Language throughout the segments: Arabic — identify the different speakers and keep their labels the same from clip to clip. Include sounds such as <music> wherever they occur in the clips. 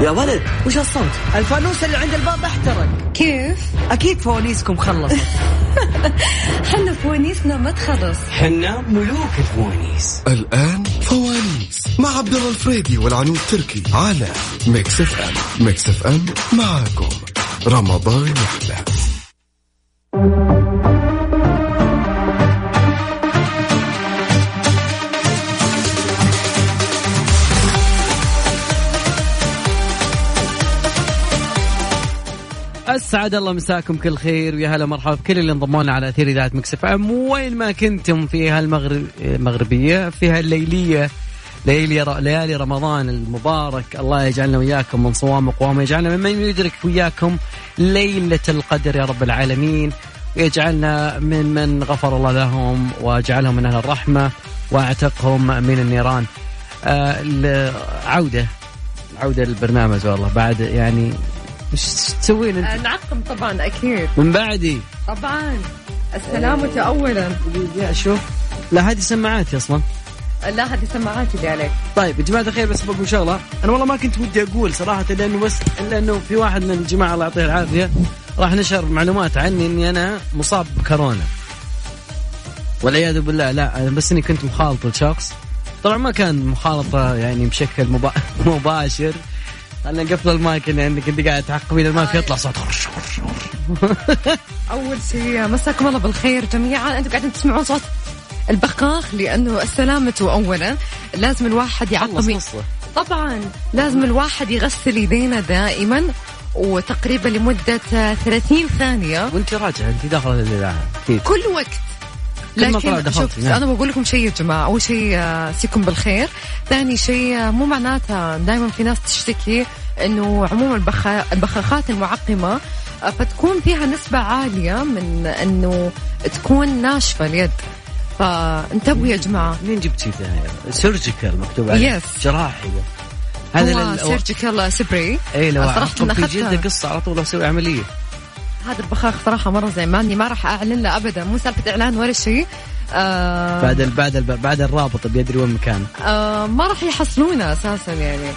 Speaker 1: يا ولد وش الصوت؟
Speaker 2: الفانوس اللي عند الباب احترق
Speaker 3: كيف؟
Speaker 2: اكيد فوانيسكم خلصت
Speaker 3: حنا فوانيسنا ما تخلص
Speaker 4: حنا ملوك الفوانيس
Speaker 5: الآن فوانيس مع عبد الله الفريدي والعنود تركي على ميكس اف ام ميكس اف ام معاكم رمضان يحلى
Speaker 6: اسعد الله مساكم كل خير ويا هلا مرحبا بكل اللي انضموا لنا على اثير اذاعه مكس اف ام وين ما كنتم في هالمغرب المغربيه في هالليليه ليالي ليالي رمضان المبارك الله يجعلنا وياكم من صوام وقوام يجعلنا ممن يدرك وياكم ليله القدر يا رب العالمين ويجعلنا من من غفر الله لهم واجعلهم من اهل الرحمه واعتقهم من النيران آه العوده عوده للبرنامج والله بعد يعني وش تسوين انت؟
Speaker 3: آه، نعقم طبعا اكيد
Speaker 6: من بعدي
Speaker 3: طبعا السلامة اولا
Speaker 6: يا شوف لا هذه سماعاتي اصلا
Speaker 3: لا هذه سماعاتي اللي عليك
Speaker 6: طيب يا جماعه الخير بس بقول شغله انا والله ما كنت ودي اقول صراحه لانه بس لانه في واحد من الجماعه الله يعطيه العافيه راح نشر معلومات عني اني انا مصاب بكورونا والعياذ بالله لا أنا بس اني كنت مخالط لشخص طبعا ما كان مخالطه يعني بشكل مبا... <laughs> مباشر خلنا نقفل المايك لانك انت قاعد تعقبين المايك يطلع صوت
Speaker 3: اول شيء مساكم الله بالخير جميعا انتم قاعدين تسمعون صوت البخاخ لانه السلامة اولا لازم الواحد يعقم طبعا لازم الواحد يغسل يدينا دائما وتقريبا لمدة 30 ثانية
Speaker 6: وانت راجعه انت داخله الاذاعه اكيد
Speaker 3: كل وقت
Speaker 6: كل ما طلع
Speaker 3: لكن
Speaker 6: دخلت نعم.
Speaker 3: شوف
Speaker 6: فيها.
Speaker 3: انا بقول لكم شيء يا جماعه اول شيء آه، مسيكم بالخير ثاني شيء آه، مو معناتها دائما في ناس تشتكي انه عموما البخا- البخاخات المعقمه آه، فتكون فيها نسبه عاليه من انه تكون ناشفه اليد فانتبهوا يا جماعه
Speaker 6: منين جبتي ذا؟ سيرجيكال مكتوب عليه
Speaker 3: Yes.
Speaker 6: جراحية
Speaker 3: هذا
Speaker 6: لل-
Speaker 3: سيرجيكال سبراي
Speaker 6: اي إيه، لو
Speaker 3: صراحة
Speaker 6: احطهم
Speaker 3: أنا
Speaker 6: في
Speaker 3: أخذتها.
Speaker 6: جلده قصه على طول اسوي عمليه
Speaker 3: هذا البخاخ صراحه مره زعلاني ما راح اعلن له ابدا مو سالفه اعلان ولا شيء آه،
Speaker 6: بعد ال بعد ال بعد الرابط بيدري وين مكانه
Speaker 3: آه، ما راح يحصلونا اساسا يعني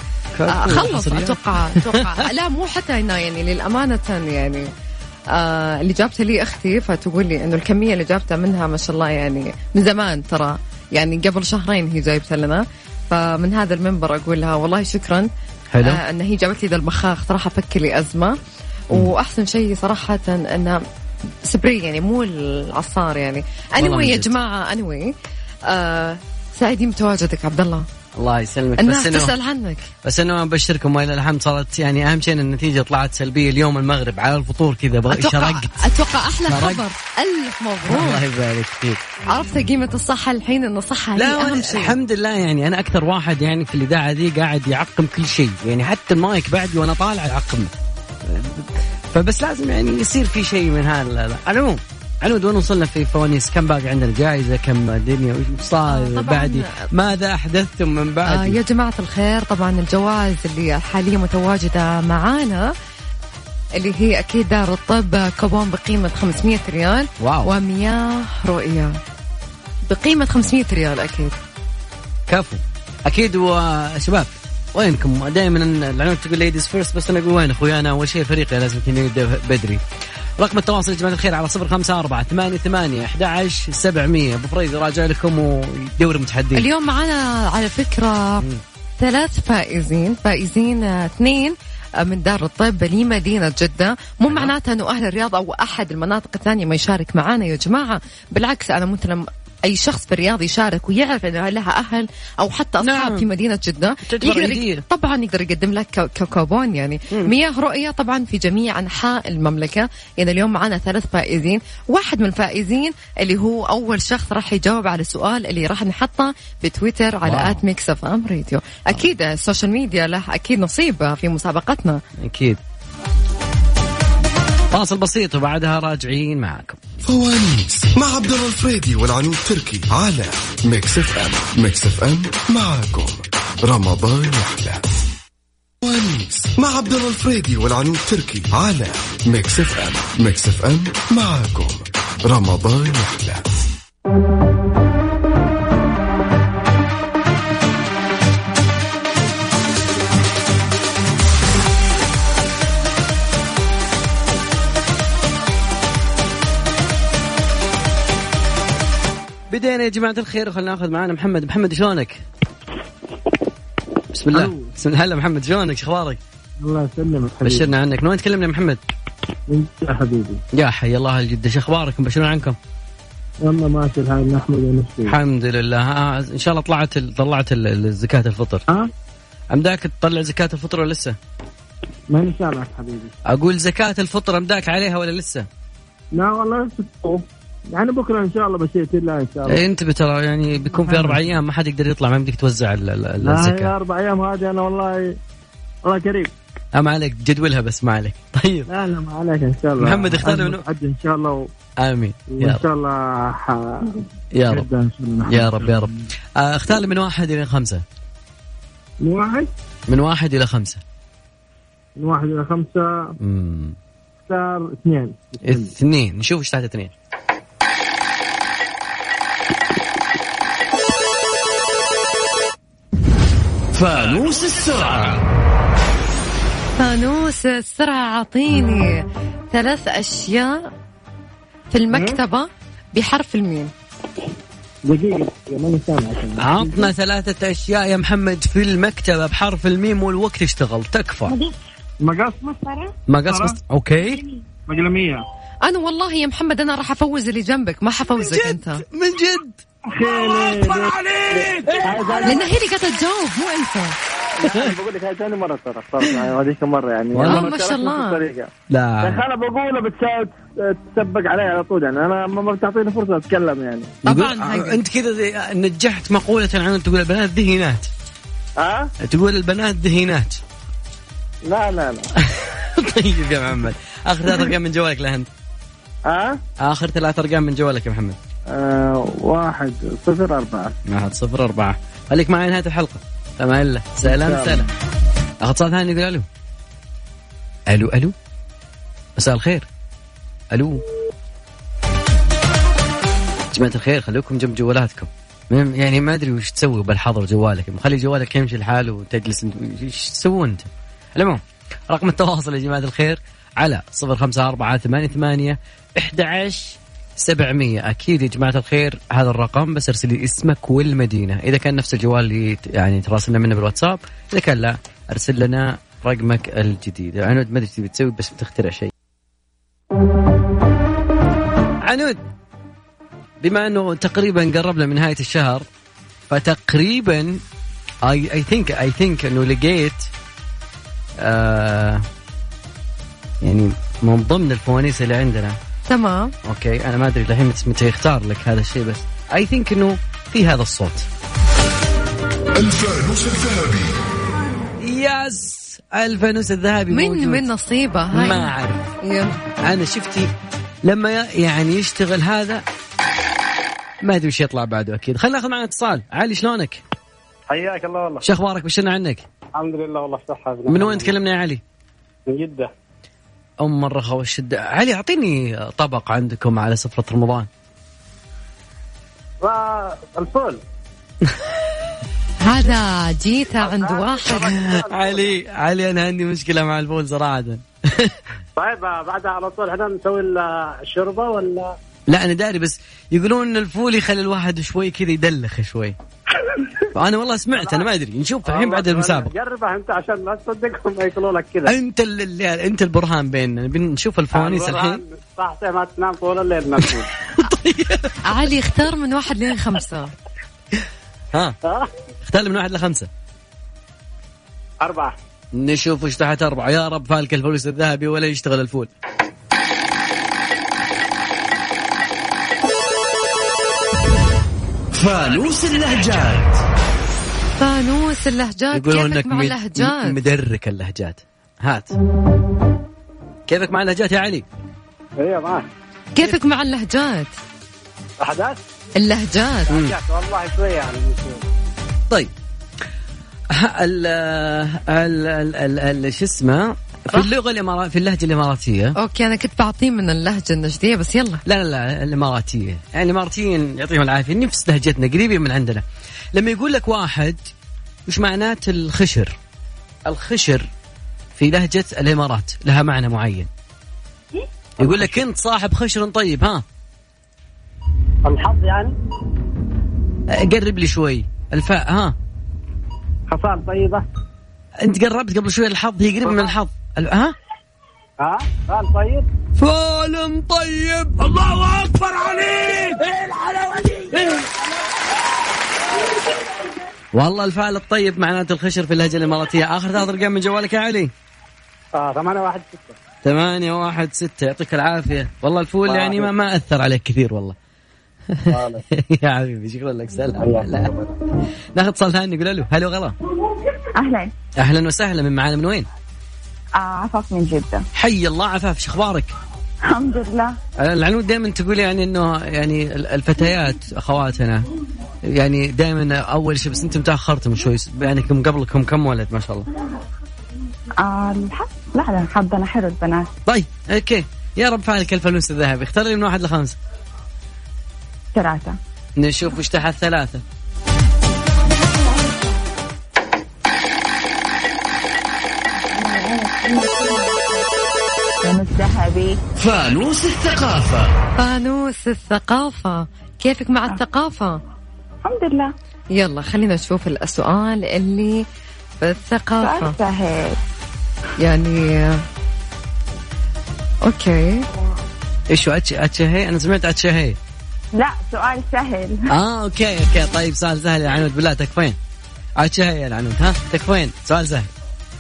Speaker 3: آه، خلص
Speaker 6: حصريات.
Speaker 3: اتوقع اتوقع لا مو حتى هنا يعني للامانه يعني آه، اللي جابته لي اختي فتقول لي انه الكميه اللي جابتها منها ما شاء الله يعني من زمان ترى يعني قبل شهرين هي جايبتها لنا فمن هذا المنبر اقول لها والله شكرا
Speaker 6: حلو.
Speaker 3: آه، ان هي جابت لي ذا البخاخ صراحه فك لي ازمه واحسن شيء صراحه انها سبري يعني مو العصار يعني
Speaker 6: والله
Speaker 3: انوي
Speaker 6: من
Speaker 3: يا
Speaker 6: جد.
Speaker 3: جماعه انوي آه سعيدين بتواجدك عبد الله
Speaker 6: الله يسلمك
Speaker 3: الناس
Speaker 6: بس انه
Speaker 3: تسال عنك
Speaker 6: بس انه ابشركم والى الحمد صارت يعني اهم شيء ان النتيجه طلعت سلبيه اليوم المغرب على الفطور كذا بغ-
Speaker 3: اتوقع
Speaker 6: شرقت
Speaker 3: اتوقع احلى
Speaker 6: شرقت.
Speaker 3: خبر الف
Speaker 6: الله
Speaker 3: مبروك
Speaker 6: يبارك فيك
Speaker 3: عرفت قيمه الصحه الحين ان الصحه هي
Speaker 6: لا
Speaker 3: اهم
Speaker 6: وأنا-
Speaker 3: شيء
Speaker 6: الحمد لله يعني انا اكثر واحد يعني في الاذاعه دي قاعد يعقم كل شيء يعني حتى المايك بعدي وانا طالع يعقمه فبس لازم يعني يصير في شيء من هذا على العموم عنود وين وصلنا في فوانيس كم باقي عندنا الجائزه كم الدنيا وش صاير
Speaker 3: طبعاً.
Speaker 6: بعدي ماذا احدثتم من
Speaker 3: آه
Speaker 6: بعدي
Speaker 3: يا جماعه الخير طبعا الجوائز اللي حاليا متواجده معانا اللي هي اكيد دار الطب كوبون بقيمه 500 ريال
Speaker 6: واو.
Speaker 3: ومياه رؤيه بقيمه 500 ريال اكيد
Speaker 6: كفو اكيد وشباب وينكم دائما العنوان تقول ليديز فيرست بس انا اقول وين اخوي انا اول شيء فريقي لازم يكون يبدا بدري رقم التواصل يا جماعه الخير على صفر خمسة أربعة ثمانية ثمانية أحد عشر سبعمية أبو فريد راجع لكم ويدور متحدين
Speaker 3: اليوم معنا على فكرة ثلاث فائزين فائزين آه، اثنين آه، من دار الطب لمدينة جدة مو معناتها أنه أهل الرياض أو أحد المناطق الثانية ما يشارك معنا يا جماعة بالعكس أنا مثلا أي شخص في الرياض يشارك ويعرف انه لها اهل او حتى اصحاب
Speaker 6: نعم.
Speaker 3: في مدينه جده
Speaker 6: تعتبر هدية.
Speaker 3: طبعا يقدر يقدم لك كو- كو- كوبون يعني مياه رؤيه طبعا في جميع انحاء المملكه يعني اليوم معنا ثلاث فائزين واحد من الفائزين اللي هو اول شخص راح يجاوب على السؤال اللي راح نحطه بتويتر على ات ميكس اف ام راديو اكيد السوشيال ميديا له اكيد نصيب في مسابقتنا
Speaker 6: أكيد فاصل بسيط وبعدها راجعين معاكم
Speaker 5: فوانيس مع عبد الله الفريدي والعنود تركي على ميكس اف ام ميكس اف ام معاكم رمضان يحلى فوانيس مع عبد الله الفريدي والعنود تركي على ميكس اف ام ميكس اف ام معاكم رمضان يحلى
Speaker 6: بدينا يا جماعه الخير وخلنا ناخذ معانا محمد محمد شلونك بسم الله
Speaker 1: ألو.
Speaker 6: بسم الله هلا محمد شلونك شخبارك
Speaker 1: الله يسلمك حبيبي
Speaker 6: بشرنا عنك من وين تكلمنا يا محمد
Speaker 1: يا حبيبي
Speaker 6: يا حي الله الجدة شخبارك مبشرون عنكم
Speaker 1: والله ماشي الحال نحمد ونشكر
Speaker 6: الحمد لله آه ان شاء الله طلعت ال- طلعت ال- ال- زكاة الفطر
Speaker 1: ها
Speaker 6: امداك تطلع زكاة الفطر ولا لسه
Speaker 1: ما ان شاء الله حبيبي
Speaker 6: اقول زكاة الفطر امداك عليها ولا لسه
Speaker 1: لا والله نشكر. يعني بكره ان شاء الله بشيت الله ان شاء الله
Speaker 6: إيه، انت ترى يعني بيكون في اربع ايام ما حد يقدر يطلع ما بدك توزع ال- ال- ال-
Speaker 1: لا هي
Speaker 6: الزكاة
Speaker 1: اربع ايام هذه انا والله الله كريم
Speaker 6: آه، ما عليك جدولها بس ما عليك <laughs> طيب
Speaker 1: لا لا ما عليك ان شاء الله
Speaker 6: محمد اختار منو؟
Speaker 1: حد ان شاء الله و-
Speaker 6: امين يا
Speaker 1: وان
Speaker 6: رب
Speaker 1: شاء الله ح...
Speaker 6: يا رب
Speaker 1: جدا إن شاء الله نحمد.
Speaker 6: يا رب يا رب آه، اختار لي من واحد الى خمسه
Speaker 1: من واحد
Speaker 6: من واحد الى خمسه
Speaker 1: من واحد الى خمسه
Speaker 6: مم.
Speaker 1: اختار اثنين
Speaker 6: اثنين نشوف ايش تحت اثنين
Speaker 4: فانوس السرعة
Speaker 3: فانوس السرعة أعطيني ثلاث أشياء في المكتبة بحرف الميم
Speaker 1: دقيقه ماني سامعك
Speaker 6: عطنا ثلاثة أشياء يا محمد في المكتبة بحرف الميم والوقت اشتغل تكفى
Speaker 1: مقص
Speaker 6: مقص بس أوكي
Speaker 1: مقلميه
Speaker 3: أنا والله يا محمد أنا راح أفوز اللي جنبك ما حفوزك أنت
Speaker 6: من جد
Speaker 1: إيه،
Speaker 3: لأن هي اللي قاعدة تجاوب مو أنت
Speaker 1: بقول لك هاي ثاني مره ترى صارت معي هذيك مره يعني
Speaker 6: والله
Speaker 1: أنا
Speaker 3: ما شاء الله.
Speaker 1: شاركت في الطريقة.
Speaker 6: لا
Speaker 1: انا بقوله بتساوي تسبق علي على طول يعني انا ما ما بتعطيني فرصه اتكلم يعني
Speaker 3: طبعاً
Speaker 6: يقول- آه،
Speaker 3: حقك.
Speaker 6: أنت كذا زي- نجحت مقولة عن تقول البنات ذهينات
Speaker 1: ها
Speaker 6: تقول البنات ذهينات
Speaker 1: آه؟
Speaker 6: <laughs>
Speaker 1: لا لا لا
Speaker 6: طيب يا محمد آخر ثلاث أرقام من جوالك لهند
Speaker 1: ها
Speaker 6: آخر ثلاث أرقام من جوالك يا محمد
Speaker 1: آه واحد صفر أربعة
Speaker 6: واحد صفر أربعة خليك معي نهاية الحلقة تمام إلا سلام سلام أخذ اتصال ثاني يقول ألو ألو ألو مساء الخير ألو جماعة الخير خلوكم جنب جوالاتكم مم، يعني ما أدري وش تسوي بالحظر جوالك خلي جوالك يمشي لحاله وتجلس انت- ايش تسوون أنت المهم رقم التواصل يا جماعة الخير على صفر خمسة أربعة ثمانية ثمانية أحد عشر سبعمية أكيد يا جماعة الخير هذا الرقم بس ارسل لي اسمك والمدينة إذا كان نفس الجوال اللي ت- يعني تراسلنا منه بالواتساب إذا كان لا ارسل لنا رقمك الجديد عنود ما أدري إيش تبي تسوي بس بتخترع شيء عنود بما أنه تقريبا قربنا من نهاية الشهر فتقريبا اي اي ثينك اي ثينك انه لقيت آه يعني من ضمن الفوانيس اللي عندنا
Speaker 3: تمام
Speaker 6: اوكي انا ما ادري للحين مت- متى يختار لك هذا الشيء بس اي ثينك انه في هذا الصوت
Speaker 5: الفانوس الذهبي
Speaker 6: يس الفانوس الذهبي
Speaker 3: من
Speaker 6: موجود.
Speaker 3: من نصيبه هاي
Speaker 6: ما اعرف
Speaker 3: يلا.
Speaker 6: انا شفتي لما ي- يعني يشتغل هذا ما ادري وش يطلع بعده اكيد خلينا ناخذ معنا اتصال علي شلونك
Speaker 7: حياك الله والله
Speaker 6: شو اخبارك بشرنا عنك
Speaker 7: الحمد لله والله صحة
Speaker 6: من وين تكلمنا يا علي
Speaker 7: من جدة
Speaker 6: ام الرخاء والشده علي اعطيني طبق عندكم على سفره رمضان
Speaker 1: آه،
Speaker 7: <laughs> الفول
Speaker 3: هذا جيته عند واحد
Speaker 6: علي علي انا عندي مشكله مع الفول صراحه <laughs>
Speaker 7: طيب
Speaker 1: آه،
Speaker 7: بعدها على طول احنا نسوي الشوربة ولا
Speaker 6: لا انا داري بس يقولون ان الفول يخلي الواحد شوي كذا يدلخ شوي فانا والله سمعت انا ما ادري
Speaker 7: آه،
Speaker 6: نشوف الحين بعد المسابقه
Speaker 7: جربها انت عشان ما تصدقهم ما يقولوا لك كذا
Speaker 6: انت ال- ال- انت البرهان بيننا بنشوف الفوانيس الحين
Speaker 7: صح ما تنام طول الليل ما تقول
Speaker 6: <laughs>
Speaker 3: علي اختار من واحد لين خمسة
Speaker 6: ها اختار لي من واحد لخمسه
Speaker 7: أربعة
Speaker 6: نشوف وش تحت اربعه يا رب فالك الفلوس الذهبي ولا يشتغل الفول
Speaker 4: فانوس اللهجات
Speaker 3: فانوس اللهجات
Speaker 6: يقولون
Speaker 3: آه، كيفك
Speaker 6: انك
Speaker 3: مع
Speaker 6: مد-
Speaker 3: اللهجات
Speaker 6: مدرك اللهجات هات كيفك مع اللهجات يا علي؟
Speaker 7: هي معك
Speaker 3: كيفك مع اللهجات
Speaker 7: أحداث
Speaker 3: اللهجات
Speaker 7: رجعت والله شوية يعني
Speaker 6: طيب ه- ال ال ال- ال ال شو اسمه في اللغه الامارات في اللهجه الاماراتيه
Speaker 3: اوكي انا كنت بعطيه من اللهجه النجديه بس يلا
Speaker 6: لا لا لا الاماراتيه يعني الاماراتيين يعطيهم العافيه نفس لهجتنا قريبين من عندنا لما يقول لك واحد وش معنات الخشر الخشر في لهجه الامارات لها معنى معين يقول لك انت صاحب خشر طيب ها
Speaker 7: الحظ يعني
Speaker 6: قرب لي شوي الفاء ها
Speaker 7: خصال طيبه
Speaker 6: انت قربت قبل شوي الحظ هي قريبه من الحظ ال- ها
Speaker 7: ها خال طيب
Speaker 6: فال طيب الله اكبر عليك ايه الحلاوه دي والله الفعل الطيب معناته الخشر في اللهجه الاماراتيه اخر ثلاث ارقام من جوالك يا علي
Speaker 7: اه 8 1 6
Speaker 6: ثمانية واحد ستة يعطيك العافية والله الفول يعني ما, ما أثر عليك كثير والله <laughs> يا حبيبي شكرا لك سلام هلا. ناخذ اتصال ثاني نقول له هلا غلا
Speaker 8: اهلا
Speaker 6: اهلا وسهلا من معانا من وين؟
Speaker 8: آه عفاف من جده
Speaker 6: حي الله عفاف شو اخبارك؟
Speaker 8: الحمد لله
Speaker 6: العنود دائما تقول يعني انه يعني ال- الفتيات اخواتنا يعني دائما اول شيء بس انتم تاخرتم شوي يعني كم قبلكم كم ولد ما شاء الله
Speaker 8: آه الحظ لا لا حظنا حلو البنات
Speaker 6: طيب اوكي يا رب فعلك الفلوس الذهبي اختار لي من واحد لخمسه
Speaker 8: ثلاثة
Speaker 6: نشوف وش تحت ثلاثه
Speaker 8: ونص ذهبي
Speaker 4: فانوس الثقافة
Speaker 3: فانوس الثقافة كيفك مع الثقافة؟
Speaker 8: الحمد لله
Speaker 3: يلا خلينا نشوف السؤال اللي في الثقافة
Speaker 8: سؤال سهل
Speaker 3: يعني اوكي
Speaker 6: ايش هو أتش- اتشهي انا سمعت اتشهي
Speaker 8: لا سؤال سهل
Speaker 6: اه اوكي اوكي طيب سؤال سهل يا عنود بالله تكفين اتشهي يا عنود ها تكفين سؤال سهل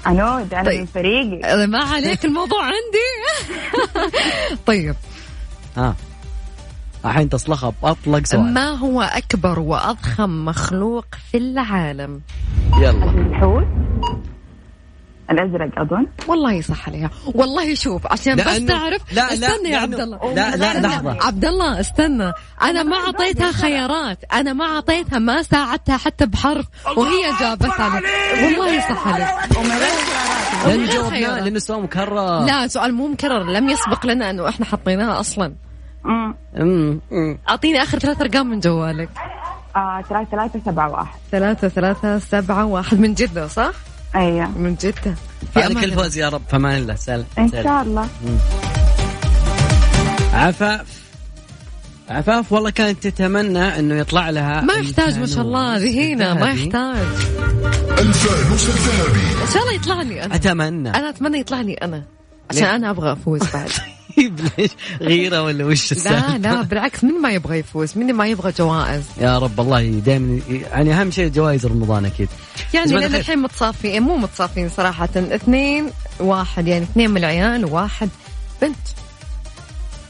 Speaker 8: عنود انا
Speaker 3: طيب.
Speaker 8: من فريقي
Speaker 3: ما عليك الموضوع <laughs> عندي طيب
Speaker 6: ها آه. الحين تصلخب اطلق سؤال
Speaker 3: ما هو أكبر وأضخم مخلوق في العالم؟
Speaker 6: يلا
Speaker 8: الحوت الازرق اظن
Speaker 3: والله صح عليها والله شوف عشان بس
Speaker 6: لأنه-
Speaker 3: تعرف
Speaker 6: لا- لا،
Speaker 3: استنى يا
Speaker 6: لأنه-
Speaker 3: عبد الله
Speaker 6: لا- لا، لحظة.
Speaker 3: عبد الله استنى انا ما اعطيتها خيارات انا ما اعطيتها ما ساعدتها حتى بحرف وهي جابت عليك والله صح عليك
Speaker 6: لان
Speaker 3: لا
Speaker 6: جاوبنا
Speaker 3: خيارات.
Speaker 6: لان السؤال مكرر
Speaker 3: لا سؤال مو مكرر لم يسبق لنا انه احنا حطيناه اصلا
Speaker 8: امم
Speaker 6: أمم، أمم.
Speaker 3: اعطيني اخر ثلاث ارقام من جوالك
Speaker 8: آه ثلاثة ثلاثة سبعة واحد
Speaker 3: ثلاثة ثلاثة سبعة واحد من جدة صح؟
Speaker 8: ايوه
Speaker 3: من جدة
Speaker 6: فعلك
Speaker 3: أمان الله.
Speaker 6: الفوز يا رب فمان الله سهل
Speaker 8: ان
Speaker 6: سهل.
Speaker 8: شاء الله
Speaker 6: عفاف عفاف والله كانت تتمنى انه يطلع لها
Speaker 3: ما يحتاج ما شاء الله
Speaker 6: الفانوس
Speaker 3: ذهينا ما
Speaker 6: الذهبي.
Speaker 3: يحتاج
Speaker 5: الفانوس الذهبي
Speaker 3: ان شاء الله يطلع لي انا <laughs>
Speaker 6: اتمنى
Speaker 3: انا اتمنى يطلع لي انا عشان
Speaker 6: ليه؟
Speaker 3: انا ابغى افوز
Speaker 6: <laughs>
Speaker 3: بعد
Speaker 6: ليش غيره إيه، ولا وش
Speaker 3: لا
Speaker 6: السالفة؟
Speaker 3: لا بالعكس من ما يبغى يفوز من ما يبغى جوائز
Speaker 6: يا رب والله دائما يعني اهم شيء جوائز رمضان اكيد
Speaker 3: يعني
Speaker 6: جماعة
Speaker 3: لان
Speaker 6: الخير.
Speaker 3: الحين متصافين مو متصافين صراحه اثنين واحد يعني اثنين من العيال وواحد بنت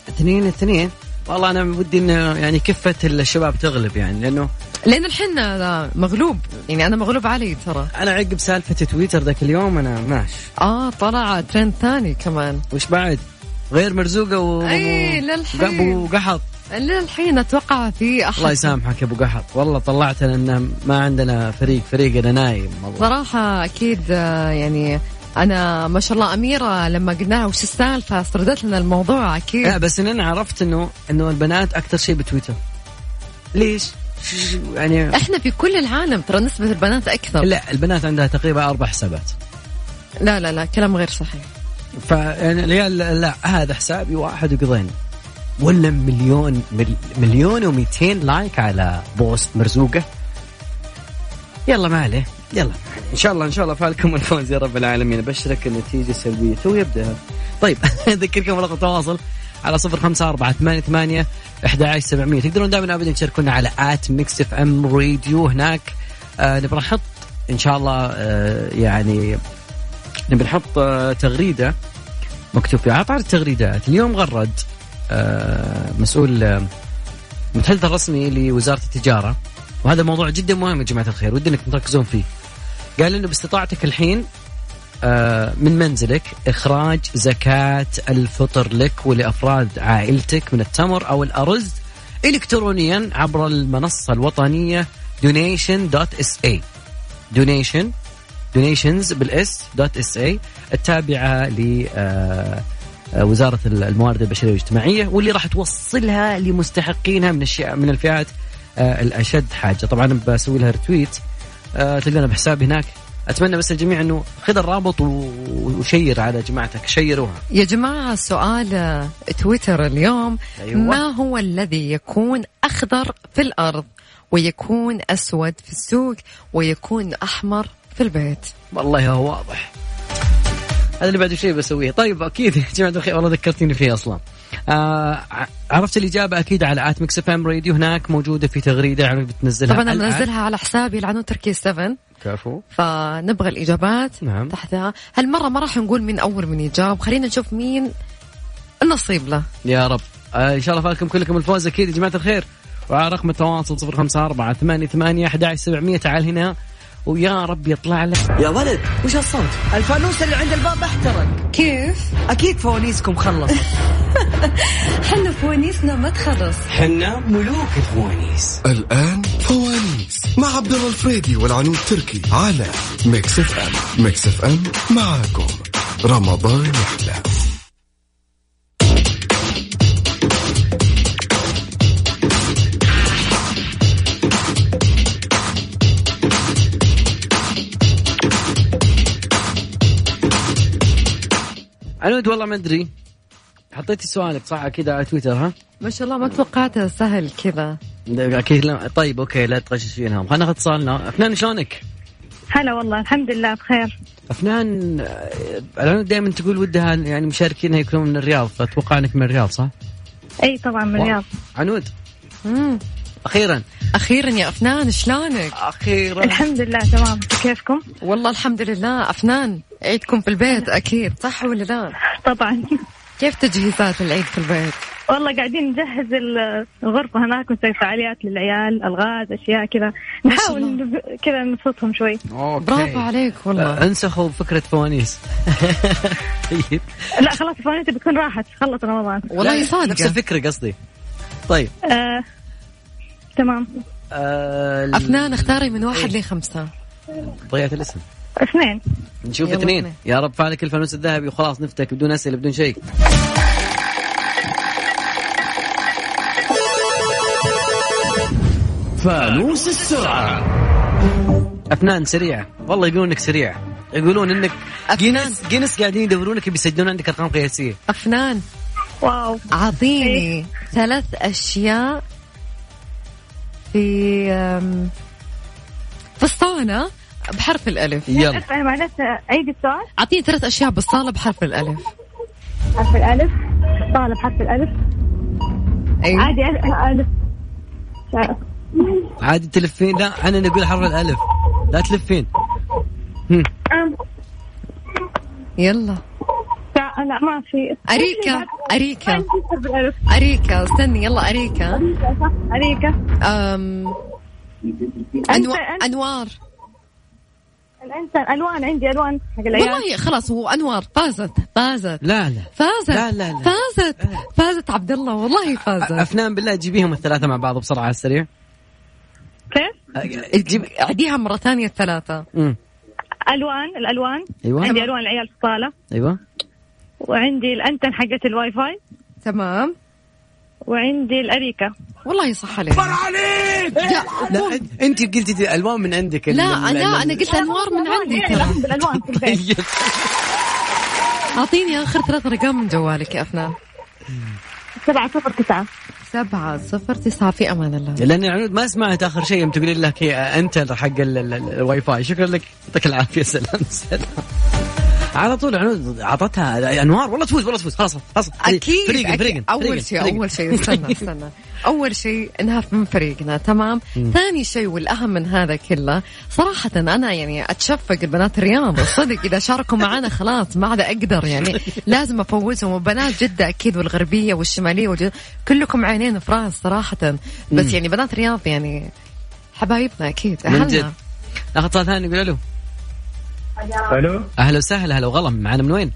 Speaker 6: اثنين اثنين والله انا ودي انه يعني كفه الشباب تغلب يعني لانه
Speaker 3: لان الحين أنا مغلوب يعني انا مغلوب علي ترى
Speaker 6: انا عقب سالفه تويتر ذاك اليوم انا ماشي
Speaker 3: اه طلع ترند ثاني كمان
Speaker 6: وش بعد غير مرزوقه و
Speaker 3: أي، إيه، للحين.
Speaker 6: ابو قحط
Speaker 3: للحين اتوقع في
Speaker 6: الله
Speaker 3: احد
Speaker 6: يسامحك يا ابو قحط والله طلعتنا انه ما عندنا فريق فريقنا نايم والله
Speaker 3: صراحه اكيد آه، يعني انا ما شاء الله اميره لما قلنا لها وش السالفه سردت لنا الموضوع اكيد
Speaker 6: لا بس إن انا عرفت انه انه البنات اكثر شيء بتويتر ليش؟ يعني
Speaker 3: احنا في كل العالم ترى نسبة البنات أكثر لا
Speaker 6: لا البنات عندها تقريبا اربع حسابات
Speaker 3: لا لا, كلام غير صحيح
Speaker 6: فيعني العيال يعني لا, لا هذا حسابي واحد وقضينا ولا مليون مل مليون و200 لايك على بوست مرزوقه يلا ما عليه يلا ان شاء الله ان شاء الله فالكم الفوز يا رب العالمين ابشرك النتيجه سلبيه تو يبدا طيب <laughs> اذكركم رقم التواصل على صفر خمسة أربعة ثمانية ثمانية أحد عشر سبعمية تقدرون دائما أبدا تشاركونا على آت ميكس اف ام راديو هناك آه نبغى نحط إن شاء الله آه يعني نبي نحط آه، تغريده مكتوب فيها عطار التغريدات اليوم غرد آه، مسؤول آه، المتحدث الرسمي لوزاره التجاره وهذا موضوع جدا مهم يا جماعه الخير ودي انكم تركزون فيه قال انه باستطاعتك الحين آه، من منزلك اخراج زكاه الفطر لك ولافراد عائلتك من التمر او الارز الكترونيا عبر المنصه الوطنيه donation.sa donation دونيشنز بالاس دوت اس اي التابعه ل آه، آه، وزاره الموارد البشريه والاجتماعيه واللي راح توصلها لمستحقينها من الشيء من الفئات آه، الاشد حاجه طبعا بسوي لها ريتويت آه، تلقانا بحسابي هناك اتمنى بس الجميع انه خذ الرابط و- وشير على جماعتك شيروها
Speaker 3: يا جماعة السؤال آه، تويتر اليوم
Speaker 6: أيوة.
Speaker 3: ما هو الذي يكون أخضر في الأرض ويكون أسود في السوق ويكون أحمر في البيت
Speaker 6: والله هو واضح هذا اللي بعده شيء بسويه طيب اكيد يا جماعه الخير والله ذكرتيني فيه اصلا آه عرفت الاجابه اكيد على ات ميكس اف ام راديو هناك موجوده في تغريده عرفت بتنزلها
Speaker 3: طبعا أنا
Speaker 6: الآن.
Speaker 3: منزلها على حسابي العنو تركي 7
Speaker 6: كفو
Speaker 3: فنبغى الإجابات
Speaker 6: نعم.
Speaker 3: تحتها هالمرة ما راح نقول مين أول من يجاوب خلينا نشوف مين النصيب له
Speaker 6: يا رب آه ان شاء الله فالكم كلكم الفوز اكيد يا جماعه الخير وعلى رقم التواصل 054 88 11700 تعال هنا ويا رب يطلع لك
Speaker 4: يا ولد
Speaker 2: وش الصوت؟ الفانوس اللي عند الباب احترق
Speaker 3: كيف؟
Speaker 2: اكيد فوانيسكم خلصت
Speaker 3: <laughs> حنا فوانيسنا ما تخلص
Speaker 4: حنا ملوك الفوانيس
Speaker 5: الآن فوانيس مع عبد الله الفريدي والعنود تركي على ميكس اف ام ميكس اف ام معاكم رمضان يحلى
Speaker 6: عنود والله ما ادري حطيتي سؤالك صح اكيد على تويتر ها
Speaker 3: ما شاء الله ما توقعتها سهل كذا
Speaker 6: اكيد لا طيب اوكي لا تغششينها خلينا ناخذ اتصالنا افنان شلونك؟
Speaker 8: هلا والله الحمد لله بخير
Speaker 6: افنان آه، العنود دائما تقول ودها يعني مشاركينها يكونوا من الرياض فاتوقع انك من الرياض صح؟
Speaker 8: اي طبعا من الرياض
Speaker 6: عنود
Speaker 3: مم.
Speaker 6: اخيرا
Speaker 3: أخيرا يا أفنان شلونك؟
Speaker 6: اخيرا
Speaker 8: الحمد لله تمام كيفكم
Speaker 3: <laughs> والله الحمد لله أفنان عيدكم في البيت أكيد صح ولا لا؟
Speaker 8: طبعا
Speaker 3: كيف تجهيزات العيد في البيت؟
Speaker 8: <laughs> والله قاعدين نجهز الغرفة هناك ونسوي فعاليات للعيال ألغاز أشياء كذا نحاول نب- كذا نبسطهم شوي
Speaker 6: أوكي.
Speaker 3: برافو عليك والله
Speaker 6: آه، انسخوا فكره فوانيس طيب
Speaker 8: لا خلاص فوانيتي بتكون راحت خلص رمضان
Speaker 3: والله
Speaker 6: نفس
Speaker 3: صادقة
Speaker 6: الفكره قصدي طيب
Speaker 8: آه، تمام
Speaker 6: آه، ال-
Speaker 3: أفنان اختاري من واحد لخمسة
Speaker 6: ضيعت الاسم
Speaker 8: اثنين
Speaker 6: نشوف
Speaker 3: يلا
Speaker 6: اثنين
Speaker 3: اثنين.
Speaker 6: يا رب فعلك الفانوس الذهبي وخلاص نفتك بدون اسئله بدون شيء
Speaker 4: فانوس السرعة
Speaker 6: افنان سريعه والله يقولون انك سريع يقولون انك
Speaker 3: أفنان.
Speaker 6: جينس جينس قاعدين يدورونك بيسجلون عندك ارقام قياسيه
Speaker 3: أفنان
Speaker 8: واو
Speaker 3: أعطيني
Speaker 6: إيه.
Speaker 3: ثلاث أشياء في أم، في الصالة بحرف الألف
Speaker 6: يلا
Speaker 8: أسمع معلش عيد السؤال
Speaker 3: أعطيني ثلاث أشياء بالصالة بحرف الألف
Speaker 8: حرف الألف طالب حرف الألف
Speaker 6: إيه.
Speaker 3: أيوة.
Speaker 8: عادي ألف ألف شا-
Speaker 6: عادي تلفين لا انا نقول حرف الالف لا تلفين هم.
Speaker 8: أم.
Speaker 3: يلا
Speaker 8: شا- لا ما في
Speaker 3: أريكا
Speaker 6: إيه.
Speaker 8: ما
Speaker 3: أريكا
Speaker 8: في حرف الألف
Speaker 3: أريكا استني يلا أريكا
Speaker 8: صح أريكا
Speaker 3: أم أنو... أنوار
Speaker 8: الإنسان ألوان عندي ألوان حق العيال
Speaker 3: والله خلاص هو أنوار فازت فازت
Speaker 6: لا لا
Speaker 3: فازت
Speaker 6: لا، لا، أه. لا.
Speaker 3: فازت فازت عبد الله والله فازت
Speaker 6: افنان بالله جيبيهم الثلاثه مع بعض بسرعه على السريع
Speaker 8: كيف
Speaker 6: جيب
Speaker 3: عديها مرة ثانية الثلاثة
Speaker 6: مم.
Speaker 8: ألوان الألوان
Speaker 6: ايوه
Speaker 8: عندي ألوان العيال في الصالة
Speaker 6: ايوه
Speaker 8: وعندي الأنتن حقت الواي فاي
Speaker 3: تمام
Speaker 8: وعندي الأريكة
Speaker 3: والله صح عليك
Speaker 6: لا انت قلتي دي الوان من عندك
Speaker 3: لا
Speaker 6: ال- ال-
Speaker 3: انا
Speaker 6: ال-
Speaker 3: انا قلت انوار من عندي
Speaker 8: يعني
Speaker 3: ترى
Speaker 8: الألوان بالألوان في
Speaker 6: <laughs>
Speaker 8: البيت
Speaker 6: طيب
Speaker 3: اعطيني اخر ثلاث ارقام من جوالك يا افنان
Speaker 8: سبعة صفر تسعة
Speaker 3: سبعة صفر تسعة في امان الله
Speaker 6: لان العنود ما سمعت اخر شيء يوم تقولي لك هي انت حق ال- ال- ال- الواي فاي شكرا لك يعطيك العافيه سلام سلام على طول عنود اعطتها انوار والله تفوز والله تفوز خلاص خلاص
Speaker 3: اكيد
Speaker 6: فريق
Speaker 3: أكيد.
Speaker 6: فريق
Speaker 3: اول شيء اول
Speaker 6: <laughs>
Speaker 3: شيء استنى استنى اول شيء انها من فريقنا تمام ثاني شيء والاهم من هذا كله صراحه انا يعني اتشفق البنات الرياض صدق اذا شاركوا معنا خلاص ما عاد اقدر يعني لازم افوزهم وبنات جده اكيد والغربيه والشماليه والجنوب كلكم عينين في راس صراحه بس يعني بنات الرياض يعني حبايبنا اكيد
Speaker 6: من
Speaker 3: أهلنا.
Speaker 6: جد ناخذ اتصال ثاني نقول الو
Speaker 7: الو
Speaker 6: اهلا وسهلا هلا وغلا معنا من وين؟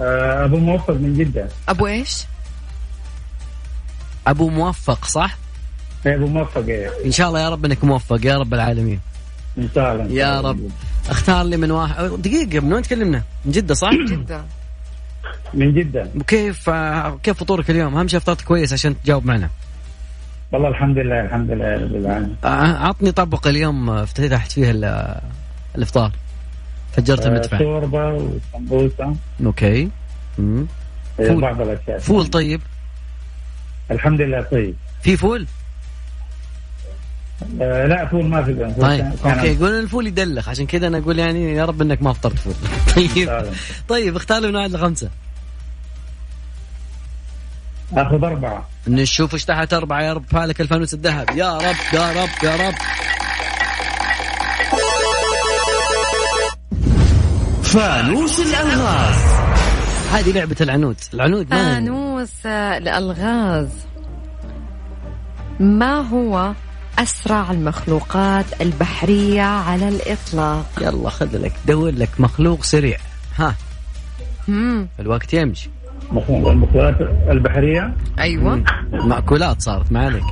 Speaker 7: آه، ابو موفق من جده
Speaker 3: ابو ايش؟
Speaker 6: ابو موفق صح؟
Speaker 7: إيه، ابو موفق إيه.
Speaker 6: ان شاء الله يا رب انك موفق يا رب العالمين
Speaker 7: ان شاء الله إن شاء
Speaker 6: يا
Speaker 7: الله.
Speaker 6: رب اختار لي من واحد دقيقه من وين تكلمنا؟ من جده
Speaker 9: <coughs>
Speaker 6: صح؟
Speaker 3: جدة
Speaker 7: من جده
Speaker 6: وكيف آه، كيف فطورك اليوم؟ اهم شيء فطرت كويس عشان تجاوب معنا.
Speaker 7: والله الحمد لله الحمد لله رب العالمين
Speaker 6: آه، عطني طبق اليوم آه، افتتحت فيه ال- آه، الافطار. فجرت
Speaker 7: آه،
Speaker 6: المدفع.
Speaker 7: شوربه وسمبوسه
Speaker 6: اوكي. مم.
Speaker 7: إيه،
Speaker 6: فول.
Speaker 7: بعض الاشياء
Speaker 6: فول طيب؟
Speaker 7: الحمد لله طيب
Speaker 6: في فول؟
Speaker 9: آه، لا فول ما في فول
Speaker 6: طيب
Speaker 9: كان- كان
Speaker 6: اوكي يقول الفول يدلخ عشان كذا انا اقول يعني يا رب انك ما فطرت فول <laughs> طيب
Speaker 9: فعلاً.
Speaker 6: طيب اختار لي من واحد لخمسه
Speaker 9: اخذ اربعه
Speaker 6: نشوف ايش تحت اربعه يا رب فالك الفانوس الذهب يا رب يا رب يا رب
Speaker 4: فانوس الالغاز
Speaker 6: هذه لعبه العنود العنود ما
Speaker 3: فانوس الألغاز ما هو أسرع المخلوقات البحرية على الإطلاق
Speaker 6: يلا خذ لك دور لك مخلوق سريع ها
Speaker 3: مم.
Speaker 6: الوقت يمشي
Speaker 9: مفهوم المخلوقات البحريه
Speaker 3: أيوة
Speaker 6: مأكولات صارت ما عليك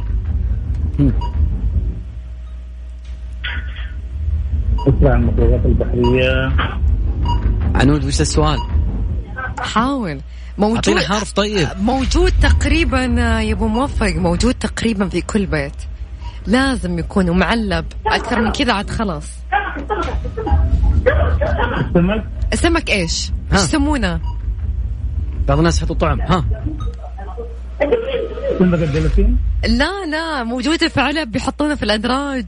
Speaker 9: اسرع المخلوقات البحريه
Speaker 6: عنود وش السؤال؟
Speaker 3: حاول
Speaker 6: اعطينا
Speaker 3: موجود
Speaker 6: حرف طيب
Speaker 3: موجود تقريبا يا ابو موفق موجود تقريبا في كل بيت لازم يكون معلب اكثر من كذا عاد خلاص
Speaker 9: السمك
Speaker 3: سمك ايش؟
Speaker 6: ها.
Speaker 3: ايش يسمونه؟
Speaker 6: بعض الناس يحطوا طعم ها
Speaker 9: سمك الدلافين
Speaker 3: لا لا موجوده في علب بيحطونه في الادراج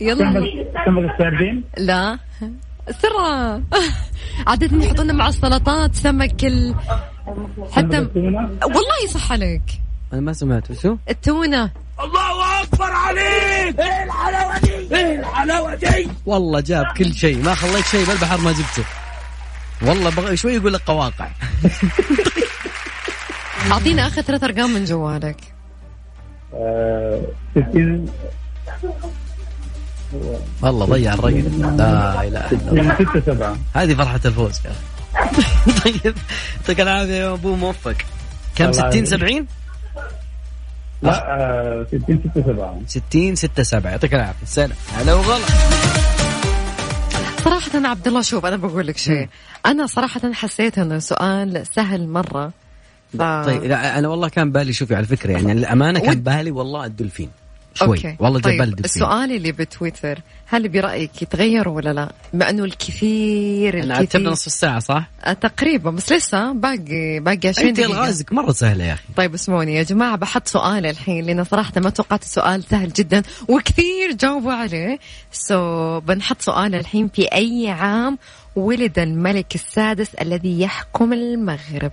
Speaker 3: يلا
Speaker 9: سمك سمك السردين
Speaker 3: لا سرعة عادة يحطونه مع السلطات سمك ال... حتى
Speaker 9: التونه
Speaker 3: والله صح عليك
Speaker 6: انا ما سمعت وشو؟
Speaker 3: التونة
Speaker 6: والله جاب كل شيء ما خليت شيء بالبحر ما جبته والله بغ... شوي يقول لك قواقع
Speaker 3: أعطينا آخر ثلاث أرقام من جوالك
Speaker 7: آه،
Speaker 9: 60
Speaker 6: والله ضيع الرقم لا اله الا الله
Speaker 9: 6 7
Speaker 6: هذه فرحه الفوز يا أخي. <laughs> طيب يعطيك العافيه يا ابو موفق كم
Speaker 9: الله
Speaker 6: 60
Speaker 9: يعافيك.
Speaker 6: 70
Speaker 9: لا آه، 60 6 7
Speaker 6: 60 6 7 يعطيك العافيه سلام هلا وغلا
Speaker 3: صراحة أنا عبد الله شوف أنا بقول لك شيء أنا صراحة حسيت إنه سؤال سهل مرة ف...
Speaker 6: طيب لا انا والله كان بالي شوفي على فكره يعني الامانه كان بالي والله الدولفين شوي
Speaker 3: أوكي.
Speaker 6: والله
Speaker 3: طيب.
Speaker 6: جبال الدولفين
Speaker 3: السؤال اللي بتويتر هل برأيك يتغير ولا لا؟ مع إنه الكثير
Speaker 6: انا عتبنا
Speaker 3: الكثير
Speaker 6: نصف ساعه صح؟
Speaker 3: آه، تقريبا بس لسه باقي باقي 20
Speaker 6: انت
Speaker 3: دقيقة
Speaker 6: الغازك مره سهله يا اخي
Speaker 3: طيب اسمعوني يا جماعة بحط سؤال الحين لأن صراحة ما توقعت السؤال سهل جدا وكثير جاوبوا عليه سو so, بنحط سؤال الحين في أي عام ولد الملك السادس الذي يحكم المغرب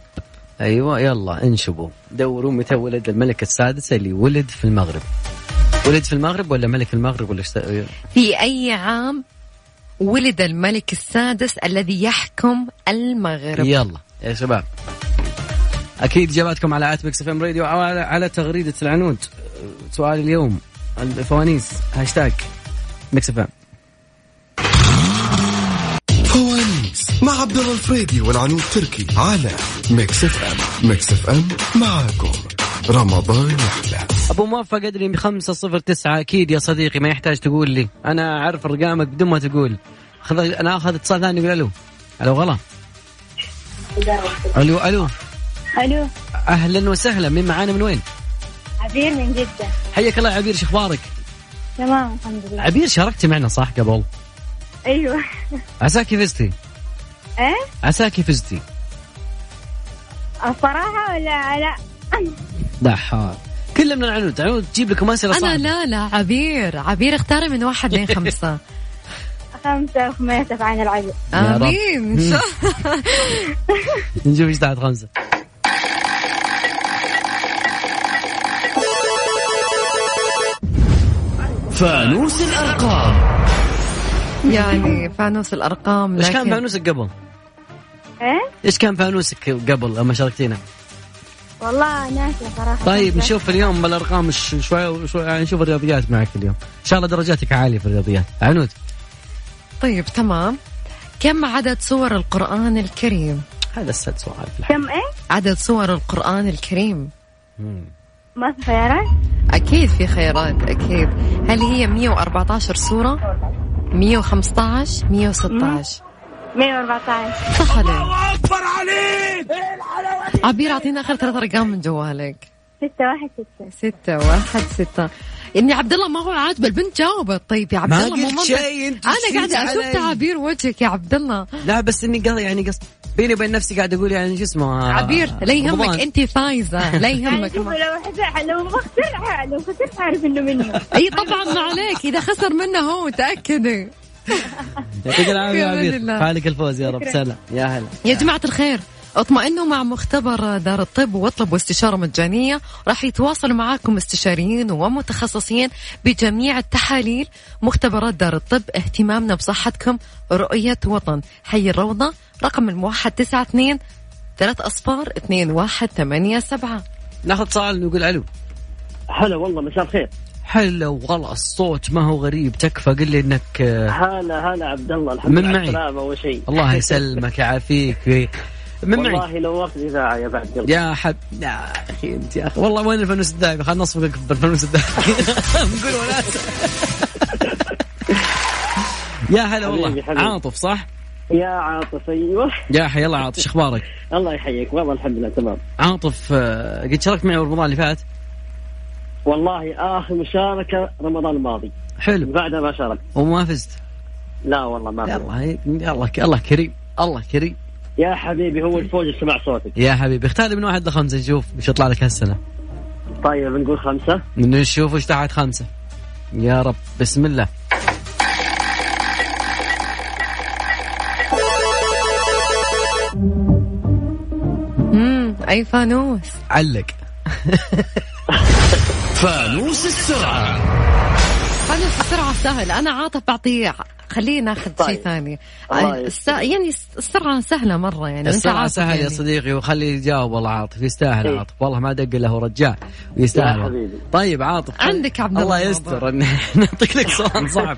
Speaker 6: ايوه يلا انشبوا دوروا متى ولد الملك السادس اللي ولد في المغرب ولد في المغرب ولا ملك المغرب ولا شت...
Speaker 3: في أي عام ولد الملك السادس الذي يحكم المغرب
Speaker 6: يلا يا شباب اكيد اجاباتكم على ات ميكس ام راديو او على, على تغريده العنود سؤال اليوم الفوانيس هاشتاج ميكس اف ام
Speaker 5: فوانيس مع عبد الله الفريدي والعنود تركي على ميكس اف ام ميكس اف ام معاكم رمضان يحلى
Speaker 6: ابو موفق ادري ب 509 اكيد يا صديقي ما يحتاج تقول لي انا اعرف رقمك بدون ما تقول خذ انا اخذ اتصال ثاني يقول الو الو غلا الو الو
Speaker 8: الو
Speaker 6: اهلا وسهلا مين معانا من وين؟
Speaker 8: عبير من جدة
Speaker 6: حياك الله يا عبير شو اخبارك؟
Speaker 8: تمام الحمد لله
Speaker 6: عبير شاركتي معنا صح قبل؟
Speaker 8: ايوه
Speaker 6: عساكي فزتي
Speaker 8: ايه
Speaker 6: عساكي فزتي
Speaker 8: الصراحة ولا لا
Speaker 6: دحار كلمنا عن عنود عنود تجيب لكم اسئله صح
Speaker 3: أنا لا لا عبير عبير اختاري من واحد لين
Speaker 6: <laughs>
Speaker 3: خمسة
Speaker 8: خمسة وخميسة عن العجل
Speaker 6: يا رب.
Speaker 3: آمين
Speaker 6: <laughs>
Speaker 3: <laughs> إن شاء الله
Speaker 6: نشوف ايش تحت خمسه
Speaker 4: فانوس الارقام
Speaker 3: يعني فانوس الأرقام
Speaker 6: ايش كان
Speaker 3: لكن-
Speaker 6: فانوسك قبل؟
Speaker 8: ايه
Speaker 6: ايش كان فانوسك قبل لما شاركتينا؟
Speaker 8: والله ناسي صراحة
Speaker 6: طيب نشوف اليوم الارقام ش- شوي شوي يعني نشوف الرياضيات معك اليوم ان شاء الله درجاتك عاليه في الرياضيات عنود
Speaker 3: طيب تمام كم عدد سور القرآن الكريم؟
Speaker 6: هذا السد سؤال في الحياة
Speaker 8: كم ايه
Speaker 3: عدد سور القرآن الكريم
Speaker 8: ما في خيارات
Speaker 3: أكيد في خيارات أكيد هل هي 114 سورة؟ 115 116
Speaker 8: 114
Speaker 3: صح عليك أكبر عليك عبير أعطينا آخر ثلاث أرقام من جوالك
Speaker 8: 616
Speaker 3: ستة واحد ستة يعني عبد الله ما هو عاجبه البنت جاوبت طيب يا عبد
Speaker 6: ما
Speaker 3: الله مو
Speaker 6: قلت
Speaker 3: منطق.
Speaker 6: شيء، أنت
Speaker 3: انا
Speaker 6: شفتي
Speaker 3: قاعده اشوف
Speaker 6: علي.
Speaker 3: تعابير وجهك يا عبد الله
Speaker 6: لا بس اني قصد يعني قصد بيني وبين نفسي قاعد اقول يعني شو اسمه
Speaker 3: عبير لا يهمك انت فايزه لا
Speaker 6: <laughs>
Speaker 8: يعني
Speaker 3: يهمك
Speaker 8: شوف لو حزع لو ما خسرها لو خسرت اعرف انه منه
Speaker 3: اي طبعا ما عليك اذا خسر منه هو تاكدي
Speaker 6: يعطيك العافيه يا
Speaker 3: يا ولد
Speaker 6: عبير
Speaker 3: الله.
Speaker 6: فالك الفوز يا رب سلام يا هلا
Speaker 3: يا جماعة الخير اطمئنوا مع مختبر دار الطب واطلبوا استشارة مجانية راح يتواصلوا معاكم استشاريين ومتخصصين بجميع التحاليل مختبرات دار الطب اهتمامنا بصحتكم رؤية وطن حي الروضة رقم الموحد 92 ثلاث أصفار 2187
Speaker 6: ناخذ اتصال نقول الو
Speaker 7: هلا والله مساء الخير
Speaker 6: حلو والله الصوت ما هو غريب تكفى قل لي انك آه،
Speaker 7: هلا هلا عبد الله الحمد
Speaker 6: من
Speaker 7: لله على
Speaker 6: معي؟
Speaker 7: السلامة أول شيء
Speaker 6: الله يسلمك يعافيك من معي
Speaker 7: والله لو وقت إذاعة يا بعد قلبي
Speaker 6: يا حب يا اخي انت يا اخي والله وين الفانوس الذهبي خلنا نصفقك بالفانوس الذهبي <laughs> نقول وناس يا هلا والله
Speaker 7: حبيبي، حبيبي.
Speaker 6: عاطف صح؟
Speaker 7: يا عاطف أيوه
Speaker 6: يا حي الله عاطف شو اخبارك؟
Speaker 7: الله يحييك والله الحمد لله تمام
Speaker 6: عاطف آه، قد شاركت معي رمضان اللي فات
Speaker 7: والله آخر مشاركة رمضان الماضي
Speaker 6: حلو
Speaker 7: بعدها ما شاركت
Speaker 6: وما فزت
Speaker 7: لا والله
Speaker 3: آه.
Speaker 7: ما أدري.
Speaker 6: يلا هيك، الله الله كريم الله كريم
Speaker 7: يا حبيبي هو الفوز سمع صوتك
Speaker 6: يا حبيبي اختار لي من واحد لخمسه نشوف وش يطلع لك هالسنه
Speaker 7: طيب نقول خمسة
Speaker 6: نشوف وش تحت خمسه يا رب بسم الله
Speaker 3: امم أي فانوس
Speaker 6: علق
Speaker 4: <laughs> فانوس السرعة
Speaker 3: فانوس السرعة سهل أنا عاطف بعطيه خليه ناخذ شيء
Speaker 7: طيب.
Speaker 3: ثاني
Speaker 7: الله
Speaker 3: الس- يعني السرعة سهلة مرة يعني وأنت
Speaker 6: السرعة
Speaker 3: عاطف
Speaker 6: سهل يا
Speaker 3: يعني.
Speaker 6: صديقي وخليه يجاوب والله عاطف يستاهل
Speaker 7: إيه.
Speaker 6: عاطف والله ما دق له رجال ويستاهل
Speaker 7: يا
Speaker 6: والله.
Speaker 7: حبيبي.
Speaker 6: طيب عاطف
Speaker 3: عندك عبد
Speaker 6: الله
Speaker 3: الله
Speaker 6: يستر <laughs> إن- نعطيك لك سؤال
Speaker 3: <laughs>
Speaker 6: صعب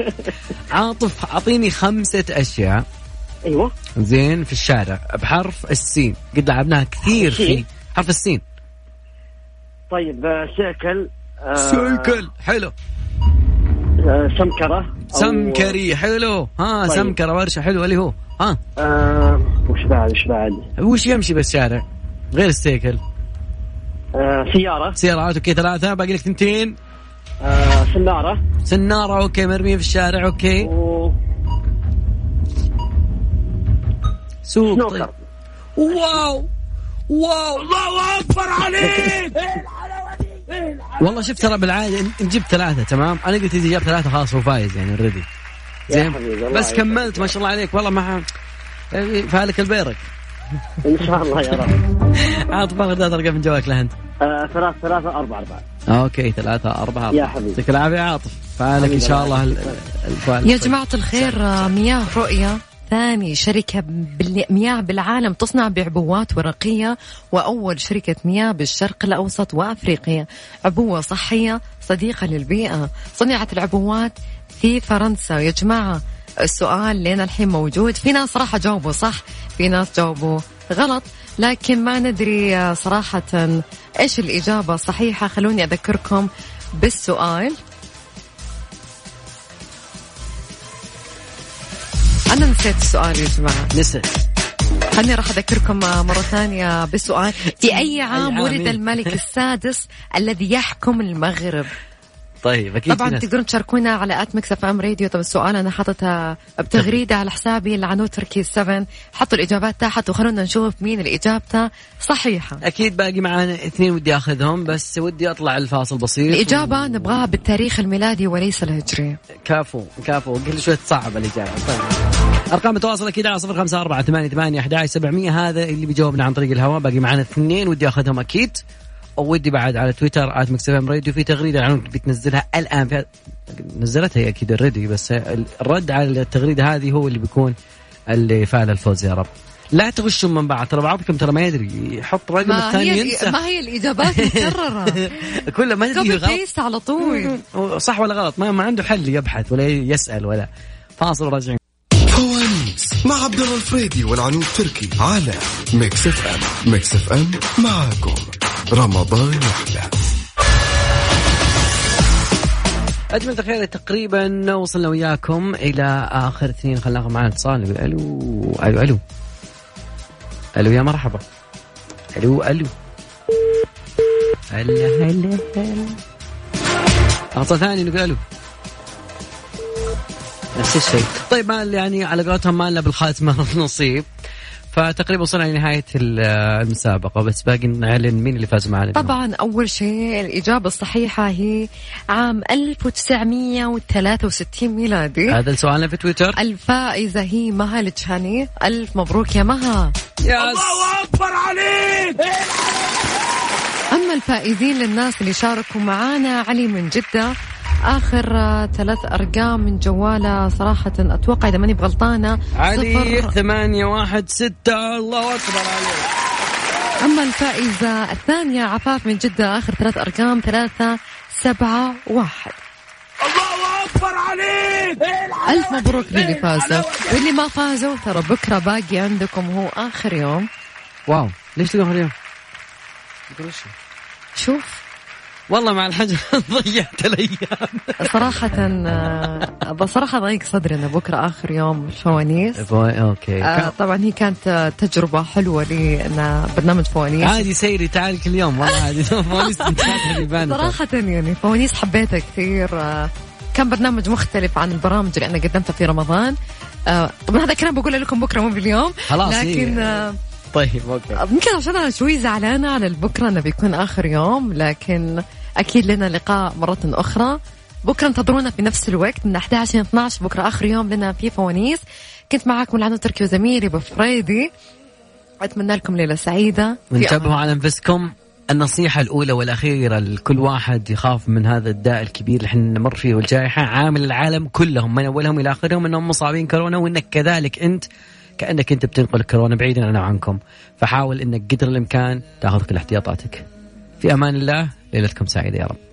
Speaker 6: عاطف اعطيني خمسة اشياء
Speaker 7: أيوه
Speaker 6: زين في الشارع بحرف السين قد لعبناها كثير في
Speaker 7: أكيد.
Speaker 6: حرف السين
Speaker 7: طيب آه، سيكل آه،
Speaker 6: سيكل حلو
Speaker 7: آه، سمكرة أو-
Speaker 6: سمكري حلو ها
Speaker 7: طيب.
Speaker 6: سمكرة ورشة حلو اللي هو ها
Speaker 7: آه، وش بعد وش بعد
Speaker 6: وش يمشي بالشارع غير السيكل
Speaker 7: آه، سيارة
Speaker 6: سيارات اوكي ثلاثة باقي لك ثنتين
Speaker 7: آه، سنارة
Speaker 6: سنارة اوكي مرمية في الشارع اوكي
Speaker 7: و-
Speaker 6: سوق طيب.
Speaker 7: سنوكر
Speaker 6: واو واو الله اكبر عليك والله شفت ترى بالعاده إن- إن جبت ثلاثه تمام انا قلت اذا جاب ثلاثه خلاص هو فايز يعني اوريدي زين
Speaker 7: حبيبي، الله
Speaker 6: بس
Speaker 7: يعينك.
Speaker 6: كملت ما شاء الله عليك والله ما ح- فالك البيرك
Speaker 7: ان شاء الله يا رب
Speaker 6: عاطف باخذ ثلاث ارقام من جوالك لهند
Speaker 7: آه، ثلاث ثلاثة أربعة أربعة
Speaker 6: اوكي ثلاثه اربعه
Speaker 7: يا حبيبي.
Speaker 6: يعطيك العافيه يا عاطف فالك ان شاء الله ال- ال- الفوائد.
Speaker 3: يا جماعة الخير آه، مياه رؤية ثاني شركة بال- مياه بالعالم تصنع بعبوات ورقية وأول شركة مياه بالشرق الأوسط وأفريقيا عبوة صحية صديقة للبيئة صنعت العبوات في فرنسا يا جماعة السؤال لين الحين موجود في ناس صراحة جاوبوا صح في ناس جاوبوا غلط لكن ما ندري آه، صراحة إيش الإجابة الصحيحة خلوني أذكركم بالسؤال أنا نسيت السؤال يا جماعة
Speaker 6: نسى
Speaker 3: خليني راح اذكركم مرة ثانية بالسؤال في اي عام
Speaker 6: العامين.
Speaker 3: ولد الملك السادس الذي يحكم المغرب
Speaker 6: طيب اكيد في
Speaker 3: طبعا
Speaker 6: ناس.
Speaker 3: تقدرون تشاركونا على ات ميكس اف ام راديو طب السؤال انا حاطتها بتغريدة على حسابي العنود تركي 7 حطوا الاجابات تحت وخلونا نشوف مين اللي اجابته صحيحة
Speaker 6: اكيد باقي معانا اثنين ودي اخذهم بس ودي اطلع الفاصل بسيط
Speaker 3: الاجابة نبغاها بالتاريخ الميلادي وليس الهجري
Speaker 6: كفو كفو كل شوي تصعب اللي جاي طيب. ارقام التواصل اكيد على صفر خمسة أربعة ثمانية ثمانية أحد سبعمية هذا اللي بيجاوبنا عن طريق الهواء باقي معنا اثنين ودي اخذهم اكيد ودي بعد على تويتر آت مكسف ام راديو في تغريده عنك بتنزلها الان في نزلتها هي اكيد اوريدي بس الرد على التغريده هذه هو اللي بيكون اللي فعل الفوز يا رب لا تغشوا من بعض ترى بعضكم ترى ما يدري يحط رقم
Speaker 3: ما
Speaker 6: الثاني
Speaker 3: هي
Speaker 6: ينسى
Speaker 3: ما هي الاجابات مكررة
Speaker 6: <laughs> كله ما يدري
Speaker 3: كوبي
Speaker 6: غلط
Speaker 3: بيست على
Speaker 6: <laughs>
Speaker 3: طول
Speaker 6: هو صح ولا غلط ما, ما عنده حل يبحث ولا يسأل ولا فاصل راجعين
Speaker 5: فوانيس مع عبد الله الفريدي والعنود تركي على ميكس اف ام ميكس اف ام معاكم رمضان يحلى
Speaker 6: أجمل تخيل تقريبا وصلنا وياكم إلى آخر اثنين خلينا ناخذ معنا اتصال نقول ألو ألو ألو ألو يا مرحبا ألو ألو هلا هلا هلا اعطى ثاني نقول الو نفس الشيء طيب ما يعني على قولتهم ما لنا بالخاتمه <laughs> نصيب فتقريبا وصلنا لنهايه ال- المسابقه بس باقي نعلن مين اللي فاز معنا اليوم.
Speaker 3: طبعا أول شيء الإجابة الصحيحة هي عام 1963 ميلادي
Speaker 6: هذا سؤالنا في تويتر
Speaker 3: الفائزة هي مها الجهاني ألف مبروك يا مها
Speaker 6: يس
Speaker 3: أما الفائزين للناس اللي شاركوا معانا علي من جدة آخر آه، ثلاث أرقام من جواله صراحة أتوقع إذا ماني بغلطانة
Speaker 6: علي
Speaker 3: صفر.
Speaker 6: ثمانية واحد ستة الله أكبر عليك
Speaker 3: أما الفائزة الثانية عفاف من جدة آخر ثلاث أرقام ثلاثة سبعة واحد ألف مبروك للي فازوا واللي ما فازوا ترى بكرة باقي عندكم هو آخر يوم
Speaker 6: واو ليش تقول اليوم؟
Speaker 3: شوف
Speaker 6: والله مع الحجر <laughs> ضيعت الأيام
Speaker 3: صراحة آه، بصراحة ضيق صدري أنه بكرة آخر يوم فوانيس
Speaker 6: إيه، أوكي
Speaker 3: آه، طبعا هي كانت آه، تجربة حلوة لي أنا برنامج فوانيس
Speaker 6: عادي سيري تعال كل يوم والله عادي <laughs> فوانيس بتاعتها يبان.
Speaker 3: صراحة يعني فوانيس حبيتها كثير آه، كان برنامج مختلف عن البرامج اللي أنا قدمتها في رمضان آه، طبعا هذا الكلام بقوله لكم بكرة مو باليوم
Speaker 6: خلاص، إيه.
Speaker 3: لكن آه،
Speaker 6: طيب اوكي
Speaker 3: يمكن عشان أنا شوي زعلانة على بكرة أنه بيكون آخر يوم لكن أكيد لنا لقاء مرة أخرى بكرة انتظرونا في نفس الوقت من 11 ل 12 بكرة آخر يوم لنا في فوانيس كنت معاكم العنو تركي وزميلي أبو فريدي أتمنى لكم ليلة سعيدة في
Speaker 6: وانتبهوا
Speaker 3: أمان.
Speaker 6: على انفسكم النصيحة الأولى والأخيرة لكل واحد يخاف من هذا الداء الكبير اللي احنا نمر فيه والجائحة عامل العالم كلهم من أولهم إلى آخرهم أنهم مصابين كورونا وأنك كذلك أنت كأنك أنت بتنقل الكورونا بعيدا عنها وعنكم فحاول أنك قدر الإمكان تأخذ كل احتياطاتك في أمان الله ليلتكم سعيدة يا رب